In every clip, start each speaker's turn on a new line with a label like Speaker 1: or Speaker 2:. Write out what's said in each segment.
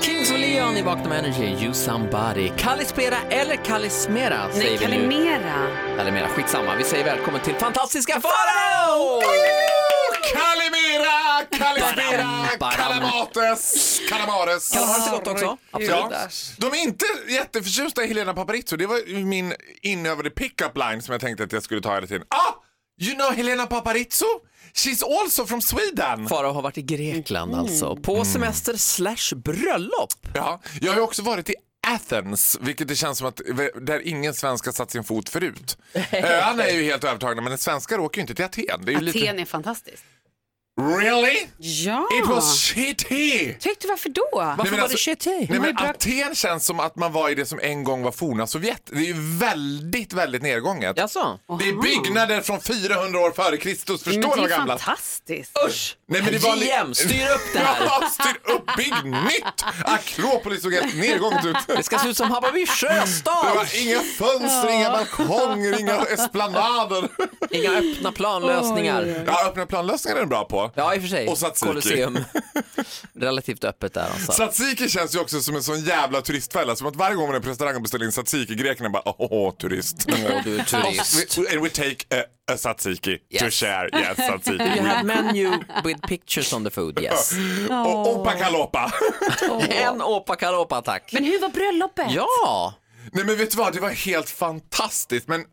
Speaker 1: Kings of Leon i Vakna med Energy, You Somebody. Kalispera eller Kalismera säger
Speaker 2: Nej,
Speaker 1: vi nu.
Speaker 2: kalimera.
Speaker 1: Kalimera, skitsamma. Vi säger välkommen till fantastiska Farao!
Speaker 3: Kalimera,
Speaker 1: Baram,
Speaker 3: Kalispera,
Speaker 1: baram.
Speaker 3: Kalamates, Kalamares.
Speaker 1: Kalamares är gott också. Absolut.
Speaker 3: Ja. De är inte jätteförtjusta i Helena Paparizou. Det var ju min inövade pick-up line som jag tänkte att jag skulle ta hela tiden. Ah! You know Helena Paparizou? She's also from Sweden.
Speaker 1: Farao har varit i Grekland alltså,
Speaker 3: Mm.
Speaker 1: på semester slash bröllop.
Speaker 3: Ja, jag har ju också varit i Athens, vilket det känns som att där ingen svensk har satt sin fot förut. Eh, Alla är ju helt övertagna, men svenskar åker ju inte till Aten. Det är ju lite...
Speaker 2: Aten är fantastiskt.
Speaker 3: Really?
Speaker 2: Ja!
Speaker 3: It was shitty!
Speaker 2: Tyckte varför då?
Speaker 1: Varför
Speaker 3: men
Speaker 1: var det
Speaker 3: alltså-
Speaker 1: shitty?
Speaker 3: Nej,
Speaker 2: har ju
Speaker 3: men
Speaker 2: bra-
Speaker 3: Aten känns som att man var i det som en gång var forna Sovjet. Det är ju väldigt, väldigt nedgånget.
Speaker 1: Jaså?
Speaker 3: Det är byggnader från 400 år före Kristus.
Speaker 2: Men
Speaker 3: Förstår
Speaker 2: det
Speaker 3: du
Speaker 2: är
Speaker 3: vad gamla?
Speaker 2: fantastiskt.
Speaker 1: Usch!
Speaker 3: Nej, li-
Speaker 1: JM, styr upp det här.
Speaker 3: Ja, styr upp, bygg nytt! Akropolis såg helt nedgånget ut.
Speaker 1: Det ska se ut som Hammarby
Speaker 3: Det
Speaker 1: sjöstad.
Speaker 3: var inga fönster, inga balkonger, inga esplanader.
Speaker 1: Inga öppna planlösningar.
Speaker 3: Ja, öppna planlösningar är den bra på.
Speaker 1: Ja, i och för sig.
Speaker 3: Och tzatziki.
Speaker 1: Colosseum. Relativt öppet där alltså.
Speaker 3: Tzatziki känns ju också som en sån jävla turistfälla. Som att varje gång man är på restaurang och beställer in tzatziki, grekerna bara åh, åh, turist.
Speaker 1: Åh, du är turist.
Speaker 3: We, and we take a, a tzatziki to
Speaker 1: Yes.
Speaker 3: share. Yes, tzatziki.
Speaker 1: You have menu with pictures on the food, yes.
Speaker 3: Och opa kalopa.
Speaker 1: En åpakaropa tack.
Speaker 2: Men hur var bröllopet?
Speaker 1: Ja,
Speaker 3: Nej men vet du vad, det var helt fantastiskt. Men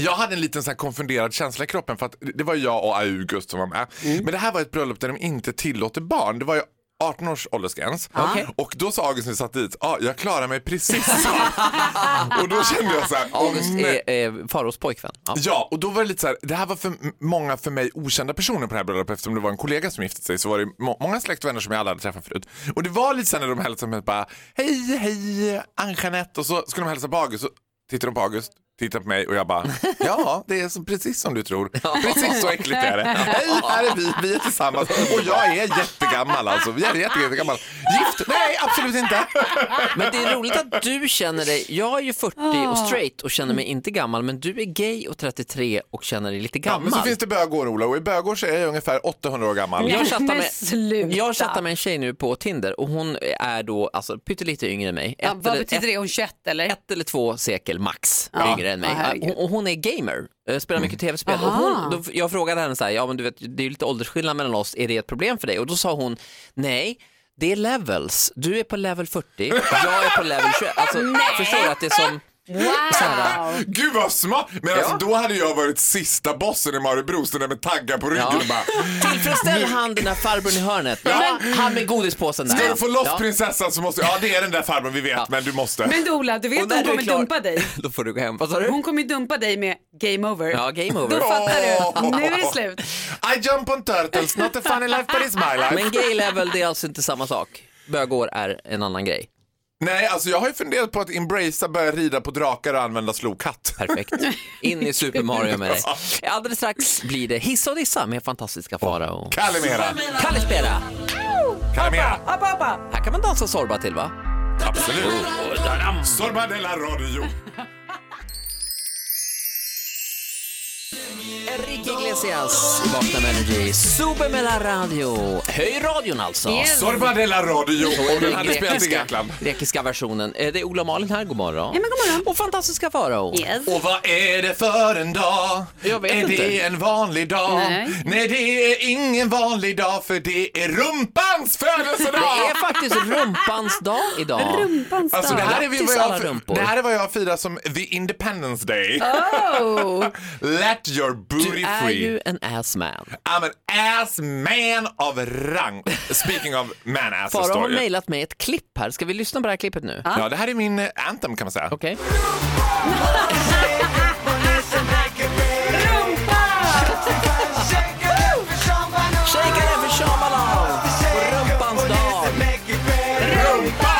Speaker 3: jag hade en liten sån här konfunderad känsla i kroppen för att det var jag och August som var med.
Speaker 1: Mm.
Speaker 3: Men det här var ett bröllop där de inte tillåter barn. Det var ju 18 års åldersgräns.
Speaker 1: Okej.
Speaker 3: Och då sa August när vi satt dit, ja ah, jag klarar mig precis. sa han. och då kände jag så här, "Åh,
Speaker 1: August
Speaker 3: nej."
Speaker 1: är, är Faros pojkvän. Ja.
Speaker 3: Mm. Ja, och då var det lite så här, det här var för m- många för mig okända personer på det här bröllopet eftersom det var en kollega som gifte sig så var det må- många släkt och vänner som jag aldrig hade träffat förut. Och det var lite så här när de hälsade mig bara hej, hej, Ann-Jeanette och så skulle de hälsa på August och tittade de på August, tittade på mig och jag bara ja, det är som, precis som du tror. Precis så äckligt är det. Hej, här är vi, vi är tillsammans och jag är jättegammal alltså. Jag är jätte, jättegammal. Gift? Nej, absolut inte.
Speaker 1: Men det är roligt att du känner dig, jag är ju 40 och straight och känner mig inte gammal, men du är gay och 33 och känner dig lite
Speaker 3: Ja,
Speaker 1: gammal.
Speaker 3: men så finns det bögår Ola och i bögår så är jag ungefär 800 år gammal.
Speaker 1: Jag
Speaker 2: Men
Speaker 1: chattar, med,
Speaker 2: sluta.
Speaker 1: jag chattar med en tjej nu på Tinder och hon är då alltså, pyttelite yngre än mig.
Speaker 2: Ja,
Speaker 1: Ett
Speaker 2: vad
Speaker 1: eller-
Speaker 2: betyder
Speaker 1: ett-
Speaker 2: det? Hon 21 eller?
Speaker 1: Ett eller två sekel max
Speaker 2: Ja.
Speaker 1: yngre än mig.
Speaker 2: Ja, herregud.
Speaker 1: och, och hon är gamer, eh, spelar mycket
Speaker 3: Mm.
Speaker 1: tv-spel. Och hon, då, jag frågade henne så här, ja men du vet det är ju lite åldersskillnad mellan oss, är det ett problem för dig? Och då sa hon, nej det är levels, du är på level 40, jag är på level 21. Alltså, förstår du att det är som
Speaker 2: Wow!
Speaker 3: Gud vad smart! Men alltså, då hade jag varit sista bossen i Mario Bros, den där med taggar på ryggen och bara
Speaker 1: Tillfredsställ han den där farbrorn i hörnet. Men, han med godispåsen där.
Speaker 3: Ska du få loss
Speaker 1: Ja.
Speaker 3: prinsessan så måste Ja det är den där farbrorn vi vet men du måste.
Speaker 2: Men du Ola, du vet
Speaker 1: Och
Speaker 2: att
Speaker 1: när
Speaker 2: hon
Speaker 1: du är
Speaker 2: kommer
Speaker 1: klar-
Speaker 2: dumpa dig.
Speaker 1: Då får du gå hem. Vad sa du?
Speaker 2: Hon kommer ju dumpa dig med game over.
Speaker 1: Ja, game
Speaker 2: Då
Speaker 1: over.
Speaker 2: fattar du.
Speaker 3: Åh.
Speaker 2: Nu är det slut.
Speaker 3: I jump on turtles, not a funny life but it's my life.
Speaker 1: Men gay level det är alltså inte samma sak. Bögår är en annan grej.
Speaker 3: Nej alltså jag har ju funderat på att embracea, börja rida på drakar och använda slokhatt.
Speaker 1: Perfekt. In i Super Mario med dig. Alldeles strax blir det hissa och dissa med fantastiska Farao.
Speaker 3: Kalimera.
Speaker 1: Kalle spela.
Speaker 3: Kalimera.
Speaker 1: Här kan man dansa Zorba till va?
Speaker 3: Absolut. Sorba de la radio.
Speaker 1: Enrique Iglesias, Vakna med Energy, Super med la radio. Höj radion alltså.
Speaker 2: Yes.
Speaker 3: Sorba de la radio. Om den hade spelat i
Speaker 1: grekiska,
Speaker 3: Grekland.
Speaker 1: grekiska versionen. Eh, Det är Ola och Malin här, god morgon.
Speaker 2: Ja, men god morgon.
Speaker 1: Och fantastiska Farao.
Speaker 2: Yes.
Speaker 3: Och vad är det för en dag?
Speaker 1: Jag vet
Speaker 3: är det
Speaker 1: inte.
Speaker 3: en vanlig dag?
Speaker 2: Nej.
Speaker 3: det är ingen vanlig dag för det är rumpans
Speaker 1: Det
Speaker 3: födelsedag!
Speaker 1: är faktiskt rumpans dag idag.
Speaker 2: Rumpans
Speaker 3: Alltså, det,
Speaker 2: dag.
Speaker 3: här är vi
Speaker 1: Grattis
Speaker 3: vad jag,
Speaker 1: alla rumpor.
Speaker 3: det här är vad jag firar som the independence day.
Speaker 2: Oh.
Speaker 3: Let your
Speaker 1: Du
Speaker 3: booty
Speaker 1: är
Speaker 3: free.
Speaker 1: ju en ass man.
Speaker 3: I'm an ass man of rang. Speaking of man asses
Speaker 1: Farao har
Speaker 3: då ju.
Speaker 1: mejlat mig ett klipp här. Ska vi lyssna på det här klippet nu?
Speaker 3: Ja, det här är min eh, anthem kan man säga.
Speaker 1: Okej. Shake it för Shambhala på rumpans dag.
Speaker 3: Rumpa!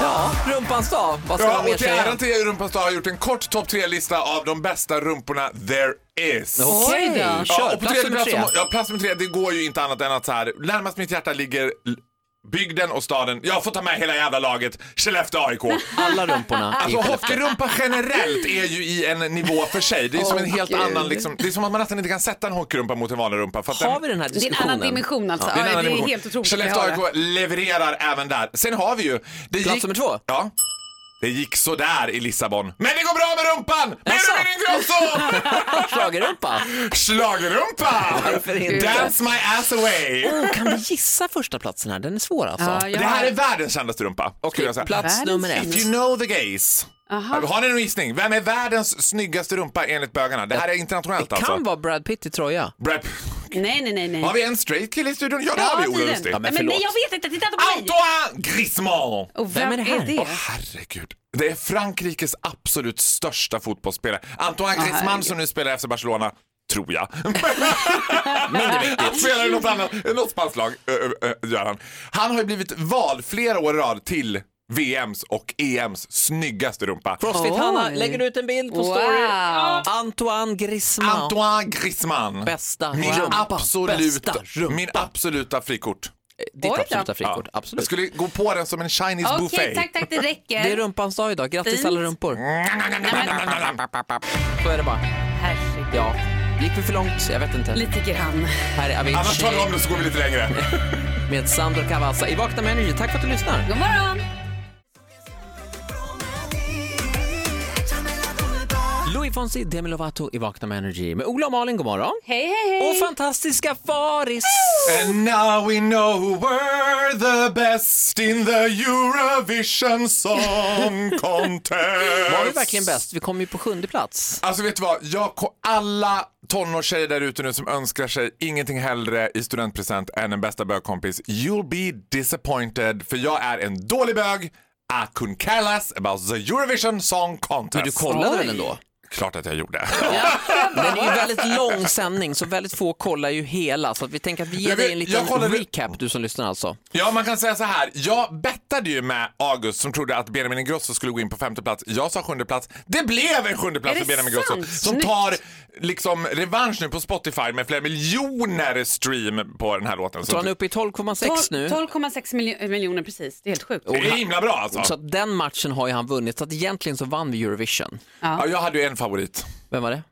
Speaker 1: Ja, rumpa rumpans dag. Vad ska
Speaker 3: Ja,
Speaker 1: man mer
Speaker 3: och till
Speaker 1: säga?
Speaker 3: äran till Rumpans dag har jag gjort en kort topp tre-lista av de bästa rumporna there is.
Speaker 1: Okej,
Speaker 2: Oj.
Speaker 1: kör.
Speaker 3: Ja, och på
Speaker 1: plats
Speaker 3: tredje
Speaker 1: nummer
Speaker 3: plats,
Speaker 1: tre.
Speaker 3: som- ja, plats nummer tre, det går ju inte annat än att så här, närmast mitt hjärta ligger l- bygden och staden. Jag får ta med hela jävla laget, Skellefteå AIK.
Speaker 1: Alla rumporna i
Speaker 3: Alltså
Speaker 1: Skellefteå.
Speaker 3: hockeyrumpa generellt är ju i en nivå för sig. Det är som en helt
Speaker 1: Åh,
Speaker 3: annan
Speaker 1: Gud.
Speaker 3: liksom, det är som att man nästan inte kan sätta en hockeyrumpa mot en vanlig rumpa. För att
Speaker 1: Har vi den här
Speaker 2: Det är en
Speaker 1: diskussionen?
Speaker 2: annan dimension alltså.
Speaker 3: det är, en
Speaker 2: Ja,
Speaker 3: annan
Speaker 2: det är
Speaker 3: dimension.
Speaker 2: helt otroligt att
Speaker 3: Skellefteå
Speaker 2: höra.
Speaker 3: AIK levererar även där. Sen har vi ju... Det
Speaker 1: Plats nummer två.
Speaker 3: Ja. Det gick så där i Lissabon. Men det går bra med rumpan! Mer
Speaker 1: Jaså?
Speaker 3: än Ingrosso!
Speaker 1: Schlagerrumpa.
Speaker 3: Schlagerrumpa!
Speaker 1: Varför inte?
Speaker 3: Dance my ass away!
Speaker 1: Oh, kan vi gissa första platsen här? Den är svår alltså.
Speaker 2: Ja, jag
Speaker 3: Det här
Speaker 2: har-
Speaker 3: är världens kändaste rumpa. skulle jag säga.
Speaker 1: Plats
Speaker 2: Världens
Speaker 1: nummer ett.
Speaker 3: If you know the gays. Har ni någon gissning? Vem är världens snyggaste rumpa enligt bögarna? Det här är internationellt
Speaker 1: Det
Speaker 3: alltså.
Speaker 1: kan vara Brad Pitt i tröja.
Speaker 3: Brad-
Speaker 2: Nej, nej, nej. nej.
Speaker 3: Har vi en straight kille i studion? Ja, det har vi. Ola
Speaker 2: tydligen.
Speaker 3: Lustig.
Speaker 1: Ja, men
Speaker 2: men nej,
Speaker 1: förlåt.
Speaker 2: jag vet inte. Titta inte på mig.
Speaker 3: Antoine Griezmann!
Speaker 2: Och
Speaker 1: Vem är det här?
Speaker 3: Åh, herregud. Det är Frankrikes absolut största fotbollsspelare. Antoine Griezmann som nu spelar i FC Barcelona, tror jag. Mindre viktigt. Han spelar i något, annat, något spanskt lag, ö, ö, ö, gör han. Han har ju blivit vald flera år i rad till VMs och EMs snyggaste rumpa.
Speaker 1: Crossfit
Speaker 2: Oj.
Speaker 1: Hanna lägger ut en bild på
Speaker 2: Wow.
Speaker 1: story. Antoine Griezmann.
Speaker 3: Antoine Griezmann.
Speaker 1: Bästa
Speaker 3: min
Speaker 1: rumpa.
Speaker 3: absoluta,
Speaker 1: Bästa rumpa.
Speaker 3: Min absoluta frikort.
Speaker 1: Ditt
Speaker 2: Oj då.
Speaker 1: absoluta frikort,
Speaker 3: Ja. Jag
Speaker 1: absolut.
Speaker 3: skulle gå på den som en Chinese
Speaker 2: Okej,
Speaker 3: buffet.
Speaker 2: tack, tack. Det räcker.
Speaker 1: Det är rumpans dag idag. Grattis
Speaker 2: Fint.
Speaker 1: alla rumpor. Så är det bara.
Speaker 2: Herregud.
Speaker 1: Ja. Gick vi för långt? Jag vet inte.
Speaker 2: Lite grann.
Speaker 1: Här är
Speaker 3: Annars tar vi
Speaker 1: Avicii
Speaker 3: om det så går vi lite längre.
Speaker 1: med Sandro Cavazza i Vakna med Energy. Tack för att du lyssnar.
Speaker 2: God morgon.
Speaker 1: Louis Fonsi, Demi Lovato i Vakna med Energy med Ola och Malin, god morgon.
Speaker 2: Hej, hej, hej.
Speaker 1: Och fantastiska Faris!
Speaker 3: And now we know we're the best in the Eurovision Song Contest.
Speaker 1: Var vi verkligen bäst? Vi kom ju på sjunde plats.
Speaker 3: Alltså vet du vad, jag ko- alla tonårstjejer där ute nu som önskar sig ingenting hellre i studentpresent än en bästa bögkompis, you'll be disappointed för jag är en dålig bög. I couldn't care less about the Eurovision Song Contest.
Speaker 1: Men du kollade väl ändå?
Speaker 3: Klart att jag gjorde.
Speaker 1: Men det är ju en väldigt lång sändning så väldigt få kollar ju hela så att vi tänker att vi ger
Speaker 3: Jag
Speaker 1: dig
Speaker 3: vet-
Speaker 1: en
Speaker 3: jag
Speaker 1: liten
Speaker 3: kollade-
Speaker 1: recap du som lyssnar alltså.
Speaker 3: Ja, man kan säga så här. Jag bettade ju med August som trodde att Benjamin Ingrosso skulle gå in på femte plats. Jag sa sjunde plats. Det blev en sjunde plats
Speaker 2: Är
Speaker 3: för
Speaker 2: det
Speaker 3: Benjamin Ingrosso
Speaker 2: sant?
Speaker 3: som
Speaker 2: Snyggt.
Speaker 3: tar liksom revansch nu på Spotify med flera miljoner stream på den här låten.
Speaker 1: Så
Speaker 3: Så
Speaker 1: han är
Speaker 3: det
Speaker 1: uppe i 12,6 nu.
Speaker 2: 12,6 miljo- eh, miljoner precis. Det är helt sjukt.
Speaker 3: är himla bra alltså.
Speaker 1: Så att den matchen har ju han vunnit så att egentligen så vann vi Eurovision.
Speaker 3: Ja, jag hade ju en favorit.
Speaker 1: Vem var det?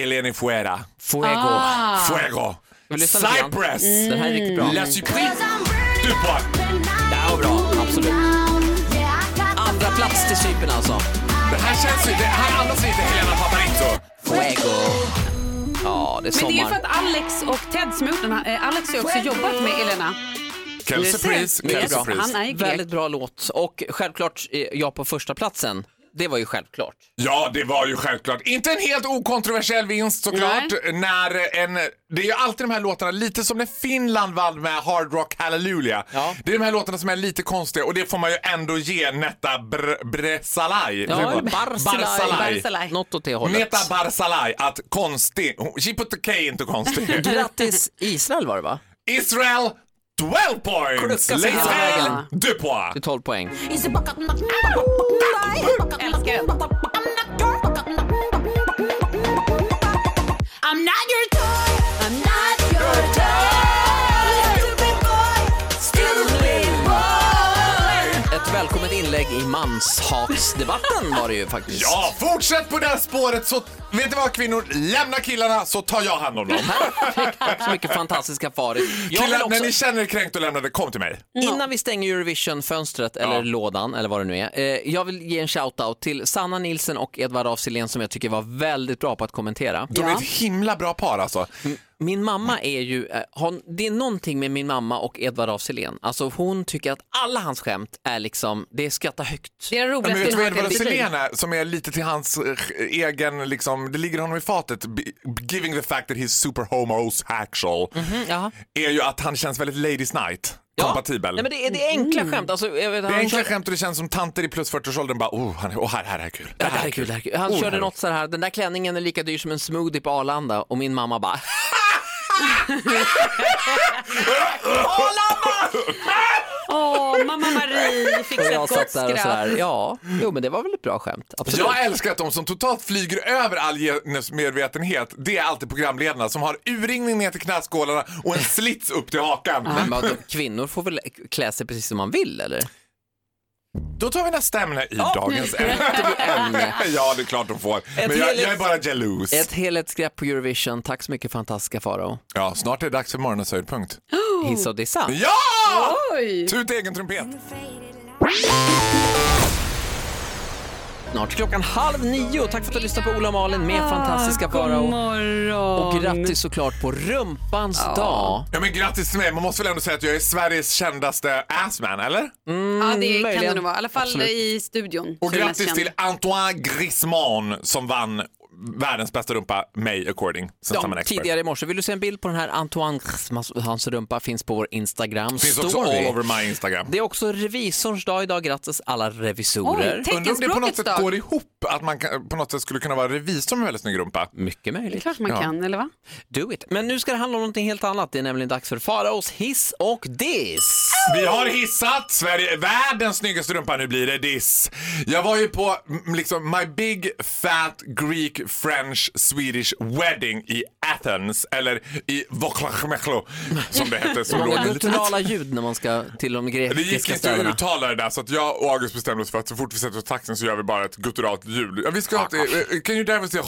Speaker 3: Eleni Fuera.
Speaker 1: Fuego.
Speaker 2: Ah.
Speaker 3: Fuego.
Speaker 1: Ska vi lyssna lite grann?
Speaker 3: Cypress.
Speaker 2: Mm.
Speaker 1: Den här är riktigt bra.
Speaker 3: La Supreme. Du på.
Speaker 1: Det här var bra, absolut. Andra plats till Cypern alltså.
Speaker 3: Det här känns ju... Det här andas lite Helena Paparizou.
Speaker 1: Fuego. Ja, det är
Speaker 2: Men
Speaker 1: sommar.
Speaker 2: det är ju för att Alex och Ted som har gjort den här, eh, Alex har ju också jobbat med Elena.
Speaker 3: Quelle surprise. Quelle
Speaker 2: Yes, Han
Speaker 3: surprise.
Speaker 2: är ju grek.
Speaker 1: Väldigt bra låt och självklart eh, jag på första platsen. Det var ju självklart.
Speaker 3: Ja, det var ju självklart. Inte en helt okontroversiell vinst såklart. När en, det är ju alltid de här låtarna, lite som när Finland vann med Hard Rock Hallelujah.
Speaker 1: Ja.
Speaker 3: Det är de här låtarna som är lite konstiga och det får man ju ändå ge Netta Br- Bresalaj.
Speaker 1: Ja, eller Barzilai.
Speaker 3: Barzilai.
Speaker 2: Barzilai.
Speaker 1: Något åt det hållet.
Speaker 3: Netta Barzalaj, att konstig. Chipotokej är inte konstig.
Speaker 1: Grattis Israel var det va?
Speaker 3: Israel, 12 points!
Speaker 1: Klucka sig hela
Speaker 3: L'Israel,
Speaker 1: vägen.
Speaker 3: du på.
Speaker 1: Det är 12 poäng.
Speaker 4: I'm not your toy. I'm not your toy. Little big boy, still a big boy.
Speaker 1: Ett välkommet inlägg i manshatsdebatten var det ju faktiskt.
Speaker 3: Ja, fortsätt på det här spåret så, vet ni vad kvinnor, lämna killarna så tar jag hand om dem.
Speaker 1: Perfekt. Tack så mycket fantastiska Faris. Jag vill
Speaker 3: Killar, när
Speaker 1: också,
Speaker 3: ni känner er kränkt och lämnade, kom till mig.
Speaker 1: innan vi stänger Eurovision-fönstret eller lådan eller vad det nu är. Eh, jag vill ge en shout-out till Sanna Nilsen och Edvard af Sillén som jag tycker var väldigt bra på att kommentera.
Speaker 3: De är ett himla bra par alltså.
Speaker 1: Min mamma är ju, eh, hon, det är någonting med min mamma och Edvard af Sillén. Alltså hon tycker att alla hans skämt är liksom, det är skratta högt.
Speaker 2: Det är det
Speaker 3: Men vet
Speaker 2: roligaste
Speaker 3: du vad
Speaker 2: jag har
Speaker 3: Edvard
Speaker 2: hört i mitt liv.
Speaker 3: Selena som är lite till hans eh, egen, liksom, det ligger honom i fatet, b- giving the fact that he's super homosexual,
Speaker 1: Ja.
Speaker 3: är ju att han känns väldigt ladies night, kompatibel.
Speaker 1: Nej, men det, är, det är enkla
Speaker 2: Mm.
Speaker 1: skämt. Alltså, jag vet,
Speaker 3: det
Speaker 1: han
Speaker 3: är enkla
Speaker 1: kör-
Speaker 3: skämt och det känns som tanter i plus 40-årsåldern bara, oh, han är, oh här, här är kul.
Speaker 1: Ja, det här är kul, det här är kul. Han
Speaker 3: Oh, det här
Speaker 1: körde
Speaker 3: är-
Speaker 1: något så här, den där klänningen är lika dyr som en smoothie på Arlanda och min mamma bara Arlanda!
Speaker 2: Åh, mamma Marie fick
Speaker 1: Och
Speaker 2: sig
Speaker 1: jag
Speaker 2: ett gott
Speaker 1: satt där och sådär.
Speaker 2: skratt.
Speaker 1: Ja, jo men det var väl ett bra skämt. Absolut.
Speaker 3: Jag älskar att de som totalt flyger över all genusmedvetenhet, det är alltid programledarna som har urringning ner till knäskålarna och en slits upp till hakan.
Speaker 1: Men vadå, kvinnor får väl klä sig precis som man vill eller?
Speaker 3: Då tar vi nästa ämne i dagens ämne. ja, det är klart de får. Men jag,
Speaker 1: helhets-
Speaker 3: jag är bara jaloux.
Speaker 1: Ett helhetsgrepp på Eurovision. Tack så mycket fantastiska Farao.
Speaker 3: Ja, snart är det dags för morgonens höjdpunkt.
Speaker 2: Oh.
Speaker 1: Hiss och dissa.
Speaker 3: Ja!
Speaker 2: Oj!
Speaker 3: Tut egen trumpet.
Speaker 1: Snart klockan halv nio. Tack för att du lyssnade på Ola och Malin med fantastiska
Speaker 2: Ah, God
Speaker 1: Farao.
Speaker 2: morgon.
Speaker 1: Och grattis såklart på rumpans dag.
Speaker 3: Ja, men grattis till mig. Man måste väl ändå säga att jag är Sveriges kändaste assman, eller?
Speaker 1: Mm,
Speaker 2: ja, det kan det
Speaker 1: möjligen.
Speaker 2: nog vara. I alla fall
Speaker 1: Absolut.
Speaker 2: i studion.
Speaker 3: Och
Speaker 2: så är det mest
Speaker 3: grattis
Speaker 2: känd.
Speaker 3: till Antoine Griezmann som vann världens bästa rumpa, mig according. Sen
Speaker 1: Ja, tidigare i morse. Vill du se en bild på den här Antoine Griezmanns- hans rumpa finns på vår Instagram
Speaker 3: Finns
Speaker 1: story.
Speaker 3: också all over my Instagram.
Speaker 1: Det är också revisorns dag idag. Grattis alla revisorer.
Speaker 2: Oj, tänk-
Speaker 3: Undrar om det på något
Speaker 2: Teckenspråkets
Speaker 3: sätt
Speaker 2: dag.
Speaker 3: går ihop, att man kan, på något sätt skulle kunna vara revisor med väldigt snygg rumpa.
Speaker 1: Mycket
Speaker 2: Det är
Speaker 1: möjligt.
Speaker 2: klart man
Speaker 3: Ja.
Speaker 2: kan, eller va?
Speaker 1: Do it. Men nu ska det handla om något helt annat. Det är nämligen dags för Faraos hiss och diss.
Speaker 3: Vi har hissat Sverige, världens snyggaste rumpa, nu blir det diss. Jag var ju på mm, liksom my big fat Greek French Swedish wedding i Athens, eller i Voklachmechlo som det hette. Som
Speaker 1: Många
Speaker 3: låg lite-
Speaker 1: gutturala ljud när man ska till de
Speaker 3: det gick
Speaker 1: grekiska
Speaker 3: inte
Speaker 1: städerna.
Speaker 3: att uttala det där så att jag och August bestämde oss för att så fort vi sätter oss i taxin så gör vi bara ett gutturalt ljud. Ja, vi ska
Speaker 1: Ah,
Speaker 3: ha ett, eh, can you drive us to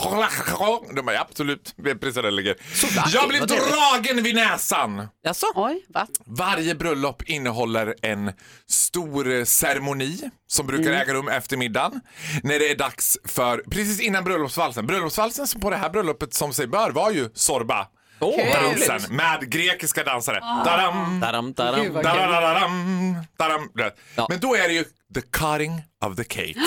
Speaker 3: De bara ja, absolut, det är precis där det ligger.
Speaker 1: Sådär,
Speaker 3: Jag blev
Speaker 1: vad trevligt.
Speaker 3: dragen vid näsan.
Speaker 1: Jaså?
Speaker 2: Oj, va?
Speaker 3: Varje bröllop innehåller en stor eh, ceremoni som brukar
Speaker 1: Mm.
Speaker 3: äga rum efter middagen. När det är dags för, precis innan bröllopsvalsen. Bröllopsvalsen som på det här bröllopet som sig bör var ju Zorba.
Speaker 1: Åh, vad Ah. roligt.
Speaker 3: Dansen med grekiska dansare. Dadam,
Speaker 1: Daram, daram.
Speaker 2: Gud, vad
Speaker 1: daram.
Speaker 3: dadadadam, dadam. Du vet.
Speaker 1: Ja.
Speaker 3: Men då är det ju the cutting of the cake.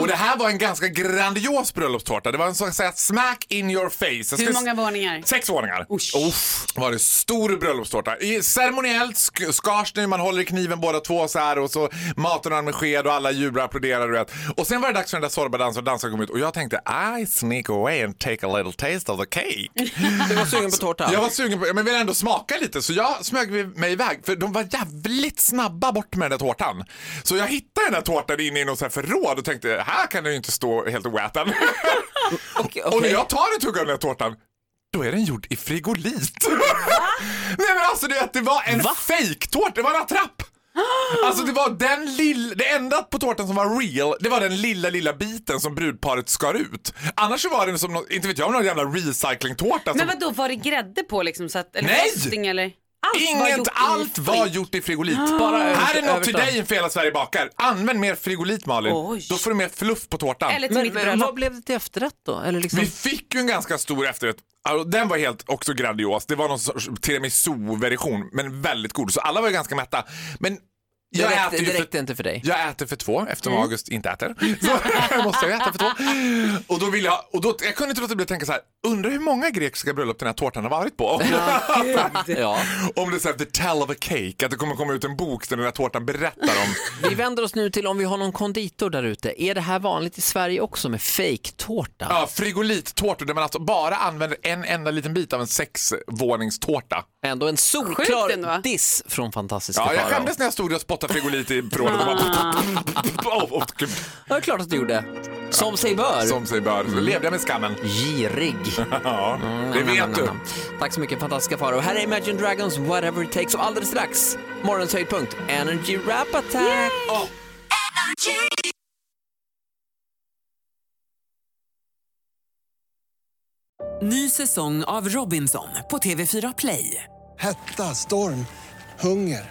Speaker 3: Och det här var en ganska grandios bröllopstårta. Det var en så att säga smack in your face. Jag ska-
Speaker 2: Hur många varningar?
Speaker 3: Sex våningar. Uff. Var det stor bröllopstårta. I, ceremoniellt sk- skars det, man håller i kniven båda två så här och så matar den med sked och alla jublar och applåderar. Du vet. Och sen var det dags för den där Zorba-dansen och dansen kom ut och jag tänkte I sneak away and take a little taste of the cake.
Speaker 1: Du var sugen på tårta?
Speaker 3: Jag var sugen på, men ville ändå smaka lite så jag smög mig iväg för de var jävligt snabba bort med den där tårtan. Så jag hittade den där tårtan inne i något så här förråd och tänkte här kan den ju inte stå helt oäten.
Speaker 1: Okej,
Speaker 3: Och när
Speaker 1: okej.
Speaker 3: jag tar en tugga av den här tårtan, då är den gjord i frigolit. Nej men alltså du vet, det var en
Speaker 1: Va?
Speaker 3: fejktårta, det var en attrapp. Alltså det var den lilla, det enda på tårtan som var real, det var den lilla, lilla biten som brudparet skar ut. Annars så var den som, någon, inte vet jag, någon jävla recyclingtårta.
Speaker 2: Men
Speaker 3: Som,
Speaker 2: vad då var det grädde på liksom? Så att, eller
Speaker 3: Nej!
Speaker 2: frosting eller? Allt var gjort
Speaker 3: inget,
Speaker 2: i Ah.
Speaker 3: allt var
Speaker 2: frit.
Speaker 3: gjort i frigolit.
Speaker 1: Bara över-
Speaker 3: Här är något till
Speaker 1: överta.
Speaker 3: dig inför hela Sverige bakar. Använd mer frigolit Malin,
Speaker 2: Oj.
Speaker 3: då får du mer fluff på tårtan.
Speaker 2: Eller till
Speaker 1: Men,
Speaker 2: mitt
Speaker 1: men vad
Speaker 2: bröllop.
Speaker 1: blev det till efterrätt då? Eller liksom...
Speaker 3: Vi fick ju en ganska stor efterrätt. Alltså, den var helt också grandios. Det var någon sorts tiramisu-version, men väldigt god. Så alla var ju ganska mätta. Men
Speaker 1: Det
Speaker 3: jag
Speaker 1: räckte,
Speaker 3: äter ju
Speaker 1: det räckte
Speaker 3: för,
Speaker 1: inte för dig.
Speaker 3: jag äter för två eftersom
Speaker 2: Mm.
Speaker 3: August inte äter. Så måste jag äta för två. Och då vill jag, och då, jag kunde inte låta bli att tänka så här, undrar hur många grekiska bröllop den här tårtan har varit på?
Speaker 1: Ja.
Speaker 3: om det är så här, the tell of a cake, att det kommer komma ut en bok där den här tårtan berättar om
Speaker 1: Vi vänder oss nu till om vi har någon konditor där ute. Är det här vanligt i Sverige också med fejktårta?
Speaker 3: ja, frigolittårtor där man alltså bara använder en enda liten bit av en sexvåningstårta.
Speaker 1: Ändå en solklar
Speaker 2: Sjukt ändå, va?
Speaker 1: diss från fantastiska
Speaker 3: Ja, jag
Speaker 1: Farao.
Speaker 3: skämdes när jag stod och spottade frigolit i förrådet. och bara- Åh, åh, gud.
Speaker 1: Ja, det är klart att du gjorde. Som sig bör.
Speaker 3: Som sig bör. Så levde jag med skammen.
Speaker 1: Girig.
Speaker 3: Ja, det vet du.
Speaker 1: Tack så mycket fantastiska Farao. Här är Imagine Dragons Whatever It Takes och alldeles strax morgonens höjdpunkt Energy Rap Attack.
Speaker 5: Ny säsong av Robinson på TV4 Play.
Speaker 6: Hetta, storm, hunger.